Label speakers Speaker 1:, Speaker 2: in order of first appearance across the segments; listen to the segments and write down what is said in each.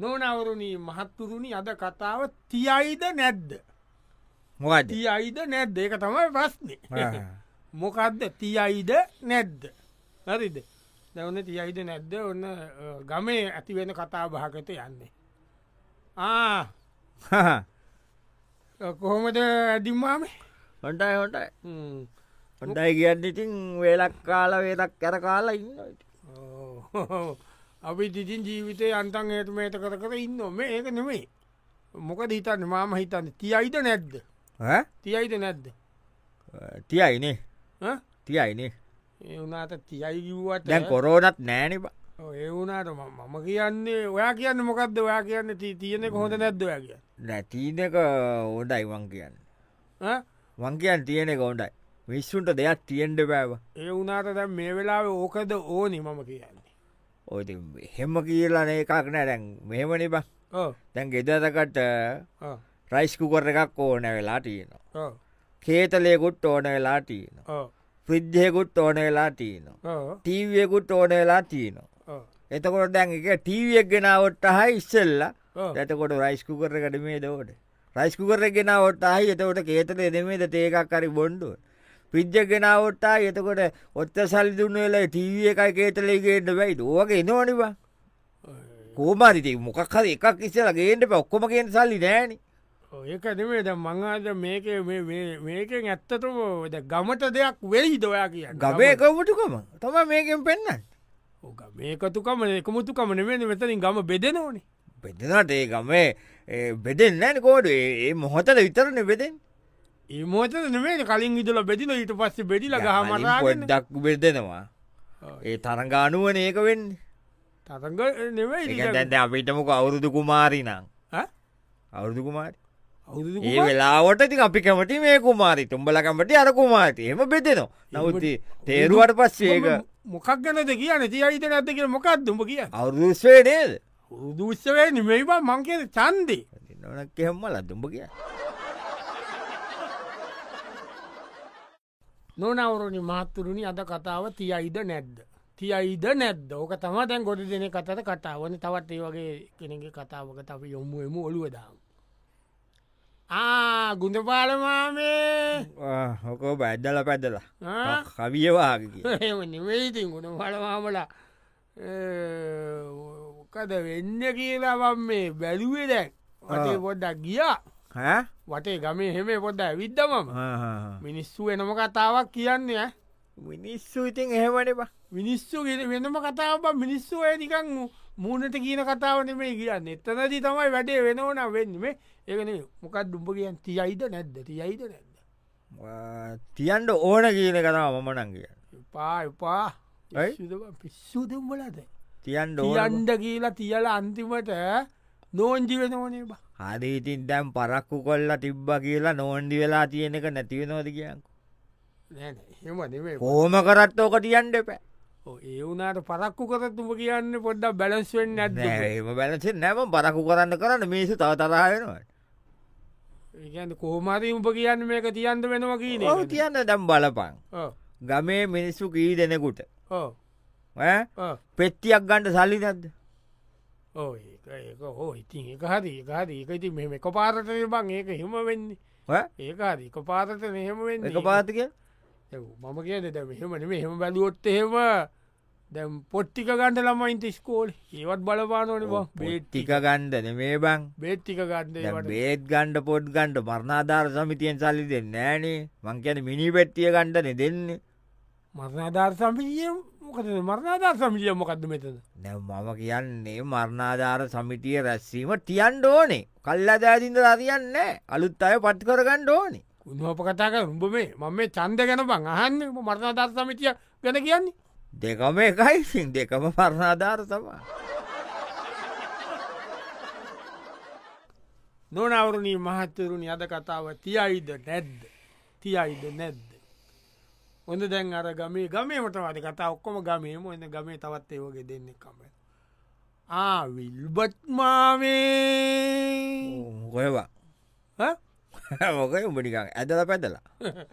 Speaker 1: නොනවරුණී මහත්තුරුණි අද කතාව තියයිද නැද්ද.
Speaker 2: මොකද
Speaker 1: තියයිද නැද්ද ඒක තමයි ප්‍රස්්නේ. මොකක්ද තියයිද නැද්ද. හරිද දැවන තියයිද නැද්ද ඔන්න අ, ගමේ ඇතිවෙන කතා භාගත යන්නේ. ආ කොහොමද ඇඩිම්මාම
Speaker 2: හොටයි හොටයි හොටයි කියන්න ඉතින් වේලක් කාල වේදක් කැර කාලා ඉන්න ඉතින්.
Speaker 1: අපි තිතින් ජීවිතය අන්තන් ඒතුමේත කර කර ඉන්න මේ ඒක නෙමේ මොක දීතන්න මාම හිතන්න තියයිද නැද්ද
Speaker 2: ඈ?
Speaker 1: තියයිද නැද්ද
Speaker 2: අ, තියයිනේ
Speaker 1: ඈ?
Speaker 2: තියයිනේ
Speaker 1: ඒ වනාට තියයි කිව්වට
Speaker 2: දැන් කොරෝනත් නෑනි
Speaker 1: ඔව්, ඒ වුනාට මම කියන්නේ ඔයා කියන්න මොකක්ද ඔයා කියන්න ති- තියෙන කොහොඳ නැද්ද ඔයා කිය
Speaker 2: නැතිනක ඕඩයි වං කියන්න වං කියන් තියෙන ගොඩයි මිස්සුන්ට දෙයක් තියෙන්ඩ බෑව
Speaker 1: ඒ වනාට දැ මේ වෙලාව ඕකද ඕනි මම කියන්නේ
Speaker 2: ඔති හෙම කියලන එකක් නෑ දැන් මෙහෙමනි බ
Speaker 1: ඕ
Speaker 2: දැන් ගෙදතකට
Speaker 1: ඕ
Speaker 2: රයිස්කු කර එකක් ඕන වෙලා තියෙනවා
Speaker 1: ඕ
Speaker 2: කේතලයකුත් ඕන වෙලා තියෙනවා
Speaker 1: ඕ
Speaker 2: ප්‍රද්ධයකුත් ඕන වෙලා තියෙනවා
Speaker 1: ඕ
Speaker 2: ටීවියකුත් ඕන වෙලා තියෙනවා
Speaker 1: ඕ
Speaker 2: එතකොට දැන් එක ටීවියක් ගෙනාවට හයි ඉස්සල්ල
Speaker 1: ඕ.
Speaker 2: ඇතකොට රයිස්කු කර කටමේ දෝට රයිස්කු කර ගෙනාවට හයි එතකොට කේතල එදමේද තේකක් කරි බොන්්ඩුව පිද්ජ ගෙනාවට්ටා එතකොට ඔත්ත සල් දුන්න වෙලා ටීව එකයි කේතලේගේට බයි දුවක එනවනිවා කෝමාරිති මොකක්හද එකක් ඉස්සල ගේට ඔක්කොම කියෙන් සල්ලි නෑන
Speaker 1: ඔව්, ඒක නෙමේ ද මංආද මේක මේ- මේ- මේකෙන් ඇත්තටම ද ගමට දෙයක් වෙයි දොයා කිය
Speaker 2: ගමයකවටුකම තම මේකෙන් පෙන්න්න
Speaker 1: මේකතුකම එකමුතුකම නෙමේ මෙතනින් ගම බෙදෙන ඕනේ
Speaker 2: බෙදනට ඒ ගමේ ඒ බෙදෙන් නෑන කෝඩ ඒ මොහොතද විතරන බෙදෙන්
Speaker 1: ඒමෝත නෙමේ කලින් ඉදල බෙදිල ඊට පස්ස බෙඩිල ගහමරාගන්න
Speaker 2: පොඩ්ඩක් බෙදෙනවා ඒ තරගානුවන ඒක වෙන්න
Speaker 1: තරග නෙවේ
Speaker 2: ඒැද අපිටමක අවුරුදු කුමාරිනං අවුරුදු කුමාරි ඒ වෙලාවට ති අපි කැමටි මේ කුමාරි තුම්ඹලකමට අර කුමාරි එම බෙදෙනවා නවති තේරුවට පස්සේක
Speaker 1: මොකක් ගැනද කියන තියයිත නැත කියෙන මොකක් දුම කිය
Speaker 2: අවුරුදුස්වේ නේද
Speaker 1: දුෂ්‍යවේ නිමේවා මංකේ චන්දේ
Speaker 2: නොනක් එහෙම්ම ලදුම්ඹ කිය
Speaker 1: නොනවරුණි මහත්තුරුණි අද කතාව තියයිද නැද්ද. තියයිද නැද්ද ඕක තම දැන් ගොඩ දෙන කතට කතාවන තවත් ඒ වගේ කෙනගේ කතාවක අපි යොමුුවම ඔළුවදාම්. ආ ගුණපාලමාමේ
Speaker 2: හොකෝ බැද්දල පැදලා කවියවාගකි
Speaker 1: එම නිවේතින් ගුණ පලවාමලා කද වෙන්න කියලාවන් මේ බැලුවේ දැන් වටේ පොඩ්ඩක් ගියා වටේ ගමේ හෙමේ පොඩ්ඩ ඇවිද්ධමම මිනිස්සු එනම කතාවක් කියන්නේ ඈ.
Speaker 2: මිනිස්සු ඉතින් එහෙමටපා
Speaker 1: මිනිස්සු ගෙන වෙනම කතාව මිනිස්සු ඇය නිකං මූනට කියන කතාවන මේ කියන්න එතනදී තමයි වැඩේ වෙනවන වෙන්නම ඒකන මොකක් දුම්ප කියන් තියයිද නැද්ද තියයිද නැද්ද
Speaker 2: තියන්ට ඕන කියන කතාව මමනන් කිය
Speaker 1: පා එපා
Speaker 2: ඇයි?
Speaker 1: පිස්සු දෙම්බලද
Speaker 2: තියන්ට ඕන
Speaker 1: ඩියන්ඩ කියලා තියල අන්තිමට නෝන්ජි වෙන ඕනේ බා
Speaker 2: හරි ඉතින් දැම් පරක්කු කොල්ලා තිබ්බ කියලා නෝන්ඩි වෙලා තියෙනක නැතිවෙනෝද කියකු
Speaker 1: නෑ හෙම නෙමේ
Speaker 2: කෝම කරත් ඕක තියන්ට එපෑ
Speaker 1: ඔව්, ඒ වුනාට පරක්කු කර තුම කියන්න පොඩ්ඩක් බැලස්වෙන් නැද්ද
Speaker 2: ඒම බැලසි නැම පරකු කරන්න කරන්න මිනිසු තව තරාවෙනවට
Speaker 1: ඒකන්න කෝමාරී උප කියන්න මේක තියන්ද වෙනවා කියන
Speaker 2: ඔහු තියන්න දම් බලපං
Speaker 1: ඕ
Speaker 2: ගමේ මිනිස්සු කී දෙනෙකුට
Speaker 1: ඕ
Speaker 2: ඈ?
Speaker 1: ඕ
Speaker 2: පෙට්ටියක් ගණ්ඩ සල්ලි නැද්ද
Speaker 1: ඕ ඒක ඒක හෝ ඉතින් එක හරි එක හරි එක ඉතින් මෙම එක පාරතන බං ඒක හෙම වෙන්නේ
Speaker 2: ඈ?
Speaker 1: ඒක හරි එක පාරත නහෙම වෙන්න
Speaker 2: එක පාතික
Speaker 1: මම කියන දැම හෙමන හෙම බැලුවොත් එහෙම දැම් පොට්ටික ගණඩ ළමයින්ට ස්කෝල් ඒවත් බලපානෝන බ
Speaker 2: පෙට්ටික ගණ්ඩන මේ බං
Speaker 1: බේට්ටික
Speaker 2: දැන්
Speaker 1: ගණ්ඩ
Speaker 2: බේත් ගණ්ඩ පොඩ් ගණ්ඩ මරණාධාර සමිතියෙන් සල්ලි දෙන්න ෑනේ මංකැන මිනි පෙට්ටිය ගණ්ඩන දෙන්නේ
Speaker 1: මරණාධර් සමිිය මොකද මරණාධර් සමිිය මොකක්ද මෙතන
Speaker 2: නැ මම කියන්නේ මරණාධාර සමිතිය රැස්වීම ටියන්ඩ ඕනේ කල්ලදෑදින්ද රතියන්න අලුත් අය පට් කරගන්න ඕනේ
Speaker 1: උන්හප කතාක උඹ මේ මම මේ චන්ද ගැන බං අහන්න මරණාධර් සමිතිය ගැන කියන්නේ
Speaker 2: දෙකම එකයි සිං දෙකම පරණාධාර තමා
Speaker 1: නොනවරුණී මහත්තරුණි අද කතාව තියයිද නැද්ද තියයිද නැද්ද. ඔොඳ දැන් අර ගමේ ගමේමට වද කතා ඔක්කොම ගමේම එන්න ගමේ තවත් ඒෝගේ දෙන්නෙ කම. ආවිල්බත් මාමේ
Speaker 2: ගොයවා මොක උඹනිකක් ඇදල පැදලා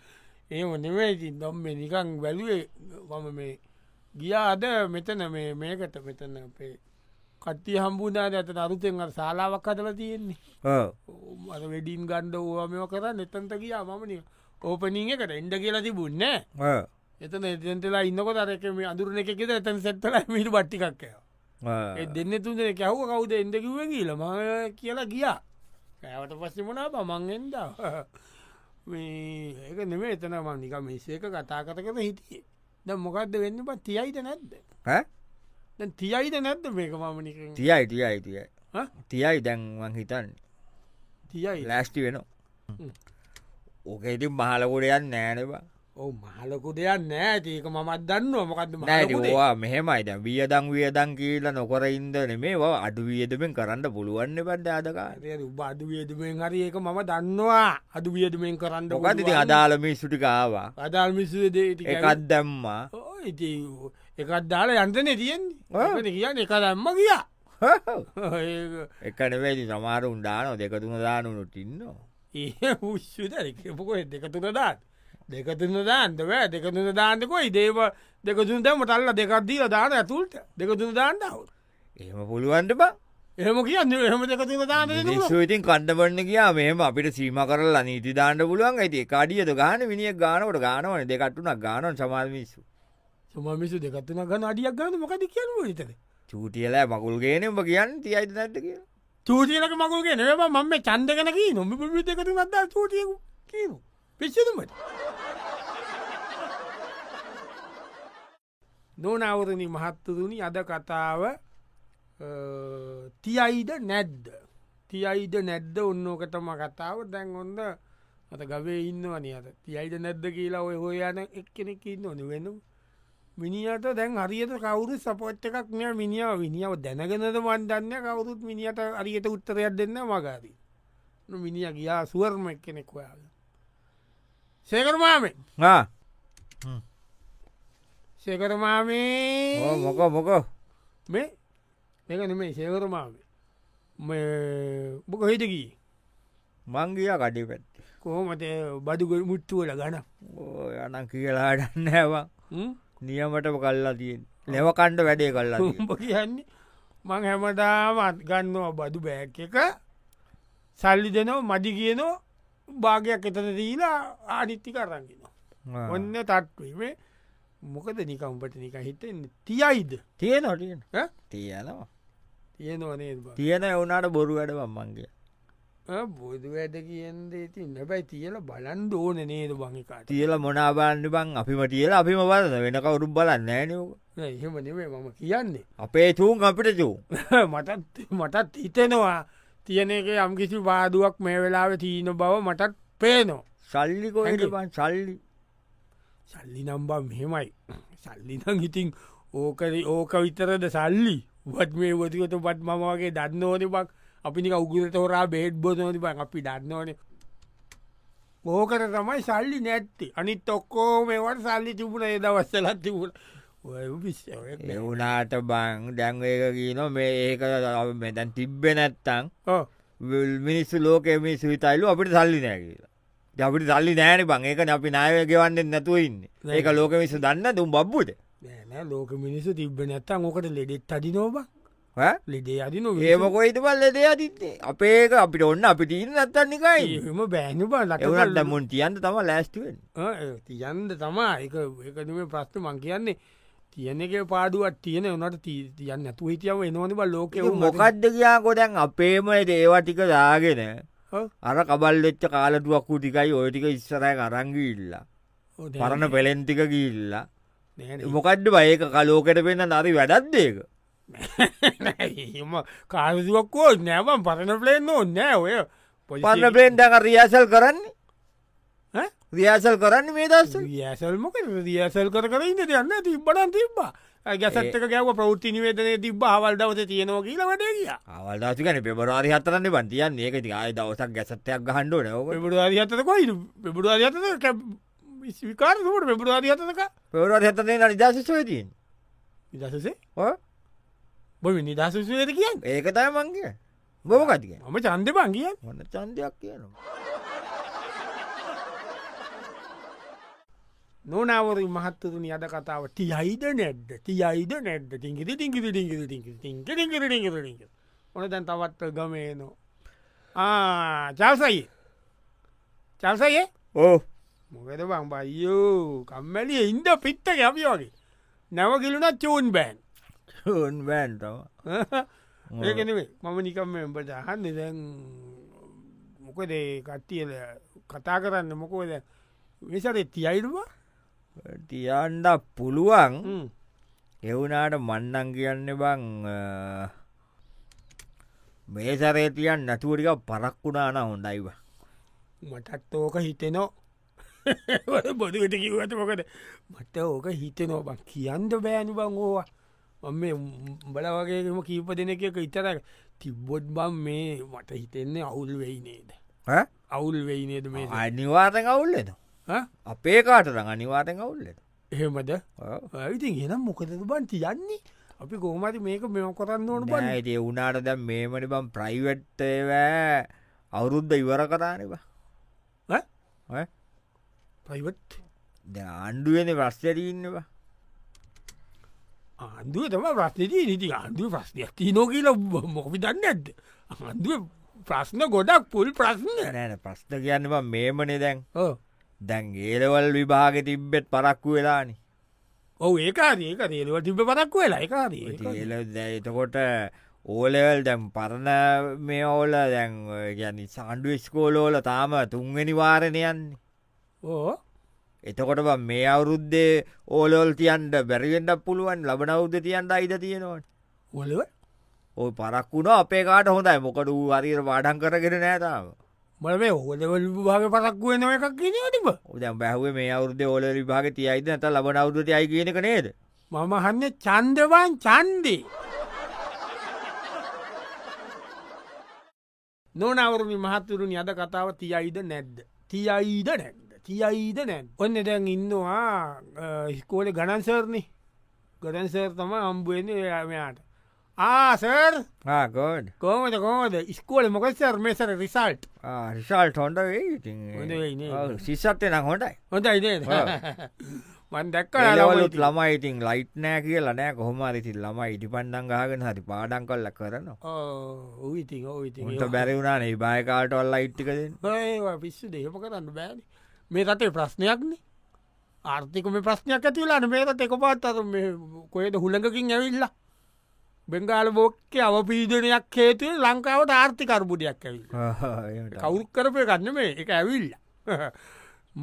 Speaker 1: ඒම නිවේති නොම්ම නිකං වැලුවේ වම මේ ගියාද මෙතන මේ මේකට මෙතන අපේ කට්ටිය හම්බුනාද ඇත අරුතෙන් අර ශාලාවක් හදල තියෙන්නේ
Speaker 2: ඕ
Speaker 1: මර වැඩින් ගණ්ඩ ඕවාමෝ කර නතන්ත කියා මමනි ඕපනින් එකට එන්ඩ කියලා තිබුන්න
Speaker 2: ඕ
Speaker 1: එතන එතන්තලා ඉන්නක තරක මේ අඳුරන එකෙද ඇතන් සැත්තල මිට පට්ටිකක්කය
Speaker 2: ඕ.
Speaker 1: දෙන්න තුන්ද කැහුව කවුද එඩකිව කියල ම කියලා ගියා කෑවට පස්සෙමනා පමන් එන්ද ඒක නෙම එතන මනික මේසේක කතා කතකත හිටියේ ද මොකක්ද වෙන්න පත් තියයිද නැද්ද
Speaker 2: ඈ?
Speaker 1: දැන් තියයිද නැද්ද මේක මමනික
Speaker 2: තියයි තියයි තියයි
Speaker 1: හ?
Speaker 2: තියයි දැන්වන් හිතන්
Speaker 1: තියයි
Speaker 2: ලෑස්ටි වෙනවා
Speaker 1: හ්ම්.
Speaker 2: ඕක ඉතින් මහලකොඩයන් නෑනවා
Speaker 1: ඕ මහලකු දෙයක් නෑ ඒක මත් දන්න මොකක්ද
Speaker 2: නෑ ඕවා මෙහෙමයි දැ වියදං වියදං කියලා නොකර ඉන්දන මේවා අඩු වියදමෙන් කරන්න පුළුවන්න පට අදකාල
Speaker 1: බඩු වියදමෙන් හරි ඒක මම දන්නවා අඩු වියදමෙන් කරන්න
Speaker 2: නොකත් ඉති අදාළමි සුටිකාවා
Speaker 1: අදාල් මිස්සුදේ
Speaker 2: එකත් දැම්මා
Speaker 1: ඉති එකත් දාලා යන්තන තියෙන්නේ ඒකට කියන්න එක දම්ම කියා ඒක-
Speaker 2: එකනවේදි සමාරු උන්ඩානෝ දෙකතුන දානුනුට ඉන්නවා
Speaker 1: ඒ පුෂ්දරකපුකො දෙකතුන දාත් දෙකතුන දාන්ත වැෑ දෙකතුන දාන්තකොයි දේව දෙකතුන දැම තල්ල දෙකක්දීල දාන ඇතුල්ට දෙකතුන දාන්නවුත්
Speaker 2: එහෙම පුළුවන්ට බා
Speaker 1: එහම කියන්න එහම දෙකතුන දාන්න දෙනවා.
Speaker 2: නිස්සුවඉතින් කණ්ඩබන්න කියා මෙම අපිට සීම කරලා නීති දාන්න පුළුවන් ඇති කාඩියද ගාන විනිිය ගානකට ගානවන දෙකටුනක් ගානන් සමාර්මිස්සු
Speaker 1: සුමමිසු දෙකත්තුන ගන්න අඩියක් ගන්න මොකද කියන්න විතද
Speaker 2: චූටියලෑ මකුල්ගේනෙම කියන්න තියයිද නැත්ත කිය
Speaker 1: චූතියලක මකුගේ නව මම චන්දගනකී නොම පිතකතු නත්දා චූටියක කියීම පිච්චතුමට නොනවරණ මහත්තතුනි අද කතාව අ, තියයිද නැද්ද තියයිද නැද්ද ඔන්නෝකටම කතාව දැන් ඔොන්න අත ගවේ ඉන්නවනි අත තියයිද නැද්ද කියලා ඔය හෝ යන එක්කෙනෙක් ඉන්න ඕන වෙනු මිනිියට දැන් හරියට කවුරු සපොට් එකක් මෙ මිනිියාව විනිියාව දැනගෙනද වන්දන්න කවුරුත් මිනිියට අරියට උත්තරයක් දෙන්න මගාද මිනිිය ගියා සුවර්ම එක් කෙනෙක් ඔයාල සේකරමාමේ සේකරමාමේ
Speaker 2: මොක මොක
Speaker 1: මේ මේක නෙමේ සේකරමාවේ මේ බොක හිටකී
Speaker 2: මංගිය කඩි පැත්ත
Speaker 1: කොහොමට බඩුගොල් මුට්ටුවල ගන
Speaker 2: යන කියලාටන්නෑවා නියමට කල්ලා තියෙන් ලෙවකණ්ඩ වැඩේ කල්ලා
Speaker 1: උඹ කියන්නේ මං හැමදාමත් ගන්නවා බදු බෑක් එක සල්ලි දෙනව මඩි කියනෝ භාගයක් එතන දීලා ආඩිත්ති කරන්ගෙන ඔන්න තත්වීමේ මොකද නිකම්පට නික හිතෙන්නේ තියයිද
Speaker 2: තියෙන ටිය
Speaker 1: ඈ?
Speaker 2: තියනවා
Speaker 1: තියෙනවනේ බං.
Speaker 2: තියෙන එවුනාට බොරු වැඩවම්මන්ගේ
Speaker 1: ආ, බොදු වැඩ කියන්ද ඉතින් නැබැයි තියල බලන් ඕන නේද බංකාට
Speaker 2: තියල මොනාබාන්න බං අපිම තියල අපිම බලන්න වෙන කවුරු බලන්න නෑනක
Speaker 1: එහෙම නෙවේ මම කියන්නේ
Speaker 2: අපේ චූන් අපිට චූ
Speaker 1: මටත් මටත් හිතෙනවා තියෙන එක යම්කිසි බාදුවක් මේ වෙලාව තියන බව මටත් පේනවා
Speaker 2: සල්ලිකෝට
Speaker 1: හැඟේ.
Speaker 2: පන් සල්ලි
Speaker 1: සල්ලි නම්බම් හෙමයි සල්ලිනම් ඉතින් ඕකරි ඕක විතරද සල්ලි වත් මේ වතිකත පත් මමගේ දන්න ඕන බක් අපිනික උගුරට හොරා බේට් බොතනති බක් අපි දන්න ඕන ඕකට තමයි සල්ලි නැත්ති අනිත් ඔක්කෝ මේවට සල්ලි තිබුණ ඒ දවස්සලත් තිබුණ ඔය විශ්වයක් නෑ.
Speaker 2: එවුනාට බං දැන්ඒක කියීන මේ ඒක මෙතැන් තිබ්බෙ නැත්තං
Speaker 1: ඔව්.
Speaker 2: විල් මිනිස්සු ලෝක මිනිස්සු විතයිලු අපිට සල්ලි නෑ කියලා ඉතින් අපිට සල්ලි නෑන බං ඒක අපි නාය ගෙවන්නෙන් නැතුව ඉන්න
Speaker 1: නෑ.
Speaker 2: ඒක ලෝක මිස්ස දන්න දුම් බබ්බුට
Speaker 1: නෑ නෑ ලෝක මිනිස්සු තිබ නැත්තම් ඕකට ලෙඩෙත් අඩි නෝබ ලෙඩේ අඩි නො
Speaker 2: ඒමකොයිට පල්ල දෙ අතිත්තේ අපේක අපිට ඔන්න අපි ඉන්න නත්තන්නකයි
Speaker 1: ඒම බෑනු බල
Speaker 2: එවනට මුන් තියන්ට තම ලෑස්ටුවෙන්
Speaker 1: තියන්ද තමා එක එකනේ ප්‍රශ්න මං කියන්නේ තියන එක පාඩුවත් තියන වනට තියන්න ඇතු හිතියාව එනවනි බ ලෝක
Speaker 2: මොකක්ද කියා ගොඩැන් අපේම ඒවා ටික දාගෙන අර කබල්ලෙච්ච කාලටුවක්කු ටිකයි ඔයටික ඉස්සරය අරංගිල්ලා පරණ පෙලෙන්ටික ගිල්ලා මොකඩ්ඩ බයක කලෝකට පෙන්න්න නරි වැඩත්දේක
Speaker 1: එම කාරසිුවක්කෝ නෑවම් පරණ පලේන්න නෑ ඔය පොලි-
Speaker 2: පන්න පෙන්ටක රියසල් කරන්නේ
Speaker 1: ඈ?
Speaker 2: රියසල් කරන්න මේ දස්ස
Speaker 1: රියසල් මොක රියසල් කර කර ඉන්න යන්න තිබ්බටන් තිබ්බා ගැසත්තක ගැව ප්‍රෞති නිවේදනය තිබ හවල් දවස තියනවා කියීල වටේ කියා
Speaker 2: අවල්දාසිකන පෙබරවාරි හතරන්න පන්තියන් ඒක ති ආය දවසක් ගැසත්තයක් ගහන්ඩ නව
Speaker 1: පෙබුඩු අධිහතක පෙබුඩු අධිහතක විකාරකට පෙබුඩු අධිහතක
Speaker 2: පෙවරවාර හතනේ නිදශස්වතින්
Speaker 1: නිදසසේ බොම නිදසුසේද කියන්න
Speaker 2: ඒක තය මංගේ බොම කතික
Speaker 1: මම චන්ද බං කියන්න
Speaker 2: මොන චන්දයක් කියනවා
Speaker 1: නොනවරින් මහත්තතුනි අද කතාව තියයිද නැඩ්ඩ තියයිද නැඩ්ඩ ටිංගිරි ටිංගිරි ටිංගිරි ටිංගිරි ටිංගිරි ටිංගිරි ටිංගිරි ටිංගිරි. ඕන දැන් තවත් ගමේනෝ චල්සයි චල්සයේ
Speaker 2: ඕ
Speaker 1: මොකද බං බයෝ කම්මැලිය ඉන්ද පිත්ත ගැපි වගේ නැවකිලුනත් චූන් බෑන්
Speaker 2: ඔන් බෑන්ටව
Speaker 1: ඒකනවේ මම නිකම් එඹට අහන්න දැන් මොකදේ කට්ටියල කතා කරන්න මොකෝද විසරේ තියයිඩවා
Speaker 2: තියන්ඩ පුළුවන් එවුනාට මන්නන් කියන්න බං අ, මේ සරේ තියන් නැතුවටික පරක්කුණාන හොඳයිව
Speaker 1: මටත් ඕක හිතෙනෝ බොදුවට කිවට මොකද මට ඕක හිතනෝ බං කියන්ද බෑනි බං ඕවා මම මේ උඹල වගේම කීප දෙනක එක ඉතර තිබ්බොඩ් බම් මේ මට හිතෙන්නේ අවුල් වෙයි නේද අවුල් වෙයි නේද මේ ස-
Speaker 2: අනිවාතක අවුල්ලෙන
Speaker 1: ඈ?
Speaker 2: අපේ කාටරං අනිවාතක අවුල්ලෙන
Speaker 1: එහෙමද ඉතින් එනම් මොකද බන් තියන්නේ අපි කොහමති මේක මෙම කොරන්න ඕන බන්න
Speaker 2: ඒේ උනාට දැ මේමනි බම් ප්‍රයිවට්ටවෑ අවුරුද්ධ ඉවර කතානවා
Speaker 1: ප්‍රයිවට්
Speaker 2: දැ අණ්ඩුවෙන ප්‍රස්්චරීන්නවා
Speaker 1: ආන්දුව තම ප්‍රශ්නතිය නති ආන්දුව ප්‍රශ්නයක් ති නෝ කියල මොකවිතන්න ඇද ආන්දුව ප්‍රශ්න ගොඩක් පුල් ප්‍රශ්න
Speaker 2: නෑන ප්‍රස්්ට කියන්නවා මේමනේ දැන්
Speaker 1: ඕ
Speaker 2: දැන් ඒලවල් විභාග තිබ්බෙත් පරක්කු වෙලානි
Speaker 1: ඔව ඒකාරයක රේලව තිබ පදක් වෙලා ඒකාරී
Speaker 2: ඒල එතකොට ඕලෙවල් දැම් පරණ මේ ඕල දැන් ගැන සාණ්ඩුව ස්කෝලෝල තාම තුන්වෙනි වාරණයන්නේ
Speaker 1: ඕ
Speaker 2: එතකොට බං මේ අවුරුද්දේ ඕලෝල් තියන්ට බැරිවෙන්ඩක් පුළුවන් ලබන අවුද්ධ තියන්ට අයිද තියෙනවට
Speaker 1: ඔලව
Speaker 2: ඕ පරක්වුණ අපේ කාට හොඳයි මොකට වූ අරිර වාඩන් කරගෙන නෑතාව
Speaker 1: මල මේ හොදවල් භාග පතක් වෙන එකක් කියන තිබ
Speaker 2: උදැම් බැහුව මේ අවුද්ධ ඕල විභාග තියයිද ඇත ලබන අවුද්ධ අයි කියනක නේද
Speaker 1: මම හන්න චන්දවන් චන්දී නොනවරුණි මහත්තුරුණි අද කතාව තියයිද නැද්ද තියයිද නැද්ද තියයිද නැන් ඔන්න දැන් ඉන්නවා හිකෝල ගණන්සර්ණි ගඩන්සර් තම අම්බුවෙන යාමයාට ආසර්
Speaker 2: ආකෝඩ්
Speaker 1: කෝමද කෝමද ස්කෝල මොකසර් මේසර රිසල්ට්
Speaker 2: රිසල්ට හොඩ
Speaker 1: හොඳ වෙයි නේද?
Speaker 2: වේ සිස්සත්ය නම් හොටයි
Speaker 1: හොඳයිදේ
Speaker 2: ඔව්.
Speaker 1: මන් දැක්ක
Speaker 2: කලවලුත් ළමයිඉතින් ලයිට් නෑ කියලා නෑ කොහොමරිති ළම ඉටි පණ්ඩන් ගහගෙන හරි පාඩන් කල්ල කරනවා
Speaker 1: ඕවිති ඕවිති
Speaker 2: උන්ට බැරිවුණනේ භායකාටවල් ලයිට්ිකදෙන්
Speaker 1: ඒවා පිස්සු දේම කරන්න බෑන මේ රටේ ප්‍රශ්නයක්න ආර්ථිකම ප්‍රශ්නයක් ඇතිවලාන මේ රට එක පාත් අර කොයද හුළඟකින් ඇවිල්ලා බෙංගාල බෝක්්‍ය අවපීදනයක් හේතුව ලංකාවට ආර්ථිකර්බුඩයක් ඇවිල් කවුරු කරපය ගන්න මේ එක ඇවිල්ල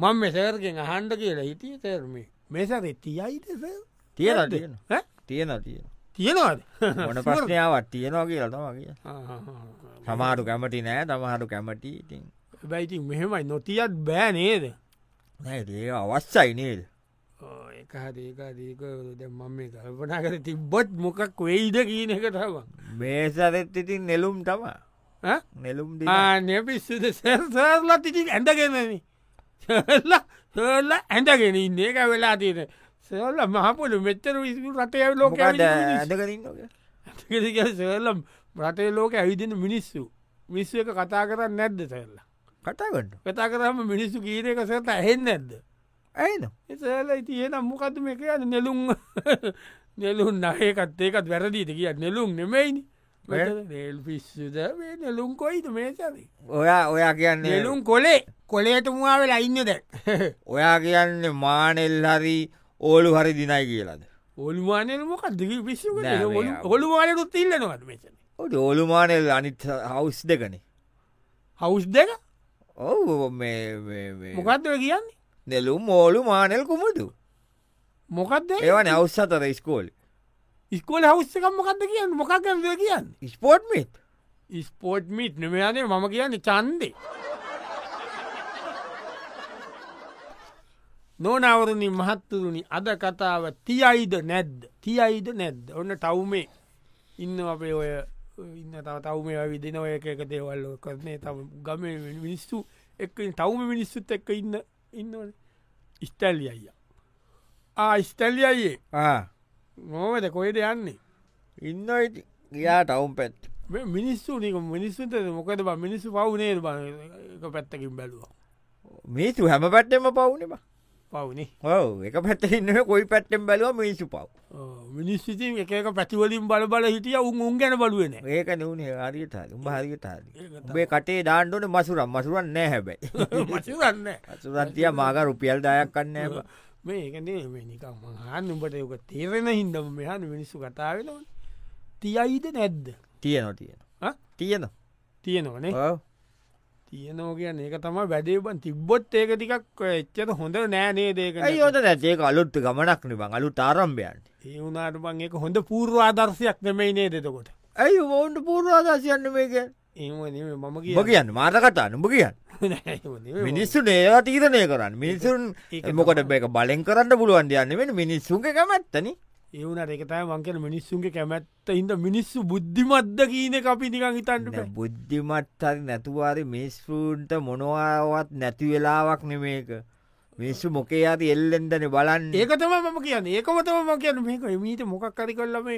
Speaker 1: මං මෙසකරගෙන් අහන්ඩ කියලා හිටිය තේරමේ මේසරේ තියයිද සර්?
Speaker 2: තියෙනවා,
Speaker 1: නැද්ද?
Speaker 2: තියෙනවා.
Speaker 1: ඈ?
Speaker 2: තියෙන තිය
Speaker 1: තියෙනවාද
Speaker 2: මොන ප්‍රශ්නාවත් තියෙනවා කියලතම කිය
Speaker 1: ආහ්.
Speaker 2: සමාරු කැමටි නෑ තමහරු කැමටි ඉතින්
Speaker 1: හැබැයි ඉතින් මෙහෙමයි නොතියත් බෑ නේද
Speaker 2: නෑ ඒ අවස්සයි නේද
Speaker 1: එකහදේකාදේක මම මේ කල්පනා කර තිබ්බොත් මොකක් වෙයිද කියන එක තවන්
Speaker 2: මේසරෙත් ඉතින් නෙලුම් තම නෙලුම් දින.
Speaker 1: ආනපිස්සුද සැර්සර්ලා තිටින් ඇඳගෙනන සල්ල ඇඳගෙන ඉන්න එක වෙලා තියෙන සල්ල මහපොලු මෙච්චර විසිකු රටය ලෝක
Speaker 2: මොකක්ද ඇඳකරන්න
Speaker 1: සල්ලම් රටේ ලෝක ඇවිදින මිනිස්සු මිස්ස එක කතා කරන්න නැද්ද සැල්ලා
Speaker 2: කටාගන්න
Speaker 1: කතා කරම මිනිස්සු කීරක සට ඇහෙන් නැද්ද
Speaker 2: ඇයින
Speaker 1: එසලයි තියෙනම් මොකද මේ කියන්න නෙලුම් නෙලුම් නහයකත් ඒකත් වැරදිීට කිය නෙලුම් නෙමයිනි
Speaker 2: වැ-
Speaker 1: නෙල් පිස්සුද මේ නෙලුම් කොයිද මේසරි
Speaker 2: ඔයා ඔයා කියන්නේ
Speaker 1: නෙලුම් කොලේ කොලේට මවා වෙලා ඉන්න දැක්
Speaker 2: ඔයා කියන්නේ මානෙල් හරි ඕලු හරි දිනයි කියලාද
Speaker 1: ඔල්වානල් මොකක් දිග පිස්සු
Speaker 2: නෑ, මේ ආ-
Speaker 1: ඔළුවාලකුත් ඉල්ලනවට මේසන
Speaker 2: ඔට ඕලුමානෙල් අනිත් හවස් දෙකන
Speaker 1: හවස් දෙක
Speaker 2: ඔවු
Speaker 1: මොකක්දව කියන්නේ
Speaker 2: නෙලුම් ඕලු මානෙල් කුමටු
Speaker 1: මොකක්ද
Speaker 2: ඒවන අවස් අතර ස්කෝල්
Speaker 1: ස්කෝල හවස්සක මොකක්ද කියන්න මොකක් ගැද කියන්න
Speaker 2: ස්පෝට්මිත්
Speaker 1: ස්පෝට් මිට් නමයානේ මම කියන්න චන්දේ නොනවරණි මහත්තුරුණි අද කතාව තියයිද නැද්ද තියයිද නැද්ද ඔන්න ටවුමේ ඉන්න අපේ ඔය ඉන්න තව තවමේ විදින ඔය එක එක දේවල් ඔය කරනේ තම ගම මිනිස්සු එක් තවම මිනිස්සුත් එක්ක ඉන්න ඉන්නවන ස්ටැල්ලි අයිය ආ ස්ටැල්ලි අයියේ මොමද කොයිද යන්නේ
Speaker 2: ඉන්න ඉති ගියා ටවුම් පැත්
Speaker 1: මේ මිනිස්සු නික මිනිස්සුන්ට මොකද බ මිනිස්සු පවුනේ බ පැත්තකින් බැලුව
Speaker 2: මිසු හැම පැට්ටෙම පවුනම
Speaker 1: පවුනේ
Speaker 2: ඔව එක පැත්ත ඉන්න කොයි පැට්ටෙන් බැලුව මිනිසු පව්
Speaker 1: මිනිස්සිතින් එකක පැතිවලින් බල බල හිටිය උන් උන් ගැන බලුවන
Speaker 2: ඒක නවනේ හරිගතාල උඹ හරිගතාල
Speaker 1: ඒක
Speaker 2: උබේ කටේ දාණ්ඩුවන මසුරම් මසුරන් නෑ හැබැයි
Speaker 1: මසිරන්න
Speaker 2: අසුරන්තිය මාග රුපියල් දායක් කන්න
Speaker 1: මේකනේ නිකම් හන් උඹට යක තේරෙන හින්දම මෙහන් මිනිස්සු කතාාවෙනවන තියයිද නැද්ද
Speaker 2: තියනවා තියෙන
Speaker 1: ආ?
Speaker 2: තියෙන
Speaker 1: තියෙනවනේ තියනෝ කියන්න ඒක තම වැඩේබන් තිබ්බොත් ඒක ටිකක් එච්චත හොඳ නෑනේ දේක
Speaker 2: යෝත නැතේ අලුත්තු ගමනක් නිබං අලු තාරම්භයන්ට
Speaker 1: ඒ වුනාට බං ඒක හොඳ පූර්වාදර්ශයක් නෙමයි නේ දෙතකොට
Speaker 2: ඇයි ඔවුන්ට පූර්වාදාසියන්න මේක
Speaker 1: ඒම මම
Speaker 2: ඔබ කියන්න මාත කතා නුඹ කියන්න
Speaker 1: කිය
Speaker 2: මිනිස්සු ඒවා තීරණය කරන්න මිනිසුන්
Speaker 1: ඒක
Speaker 2: එමකොට බැක බලෙන් කරන්න පුළුවන් යන්න වෙන මිනිස්සුන්ගේ කැමැත්තන
Speaker 1: ඒවුනට එකතයි මංකන මිනිස්සුන්ගේ කැමැත්ත හින්ද මිනිස්සු බුද්ධිමත්ද කියන එක අපි නිකං හිතන්ට බෑ.
Speaker 2: බුද්ධිමත් හරි නැතුවාරි මිස්ෆූන්ට මොනවාවත් නැති වෙලාවක් නෙමේක මිස්සු මොකේ අති එල්ලෙන්දන බලන්න
Speaker 1: ඒක තම මම කියන්න ඒකමතම ම කියන මේක මීට මොකක් කරි කල්ලම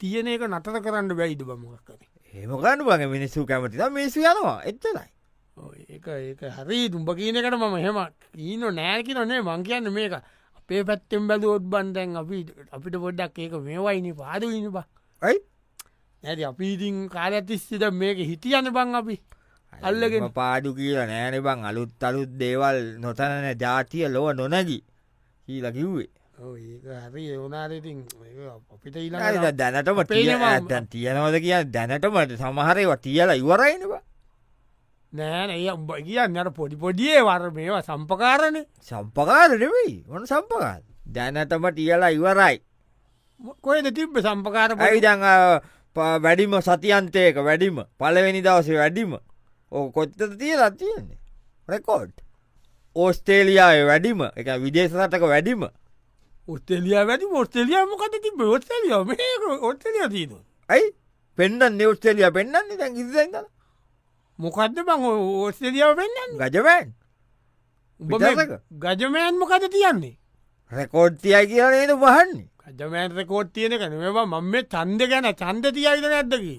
Speaker 1: තියන එක නතර කරන්න බැයිද බමක් කර
Speaker 2: ඒමකන්න වගේ මිනිස්සු කැමති මිස්සු යනවා එච්චලයි
Speaker 1: ඒක ඒක හරි දුම්ඹ කියනකට මම හෙම ඊන නෑකි නොනේ මං කියන්න මේක අපේ පැත්තෙන් බැද ඔත් බන්දැන් අපි අපිට පොඩ්ඩක් ඒක මේවයින පාදවින බා
Speaker 2: ඇයි
Speaker 1: ඇති අපිඉතින් කාලඇතිස්සිට මේක හිටියන්න බං අපි අල්ලගෙන.
Speaker 2: අල්ලගෙන පාඩු කියල නෑන බං අලුත් අලුත් දේවල් නොතනන ජාතිය ලොව නොනැගි කියීල කිව්වේ
Speaker 1: ඔව් ඒක හරි ඒවනාරඉතින් අපිට
Speaker 2: අද
Speaker 1: ඊලා
Speaker 2: දැනටම
Speaker 1: අපේ
Speaker 2: තිය-
Speaker 1: ඒවා-
Speaker 2: දැන් තියනවද කිය දැනටමට සමහරයවා තියලා ඉවරයිනවා
Speaker 1: නෑන ඒ උඹ කියන්න අර පොඩි පොඩියේ වර මේවා සම්පකාරණය
Speaker 2: සම්පකාර නෙවෙයි ඕන සම්පකාර දැනටම තියලා ඉවරයි
Speaker 1: කොයද තිබ්බ සම්පකාර පොඩි-
Speaker 2: ඇවිදං වැඩිම සතියන්තයක වැඩිම පලවෙනි දවසේ වැඩිම ඕ කොත්තට තිය රත්තියන්නේ රෙකෝඩ් ඕස්ටේලියාය වැඩිම එක විදේශ රටක වැඩිම
Speaker 1: ඔස්ටෙලිය වැඩි ොස්ටෙලිය මොකද තිබ ඔස්ටලිය ඔස්ටලිය තිීද
Speaker 2: ඇයි පෙන්න්න නිවස්ටේලිය පෙන්න්නන්නේ දැන් ඉදන්න
Speaker 1: මොකක්ද බං ඔස්ටෙලියාව පෙන්න්න
Speaker 2: ගජවෑන් විතරක?
Speaker 1: ගජමයන් මොකද තියන්නේ
Speaker 2: රෙකෝඩ් තියයි කියලනේද වහන්නේ
Speaker 1: ගජමෑන්ත කෝට් තියෙන කනව මම මේ චන්ද ගැන චන්ද තියයිද නැද්දකි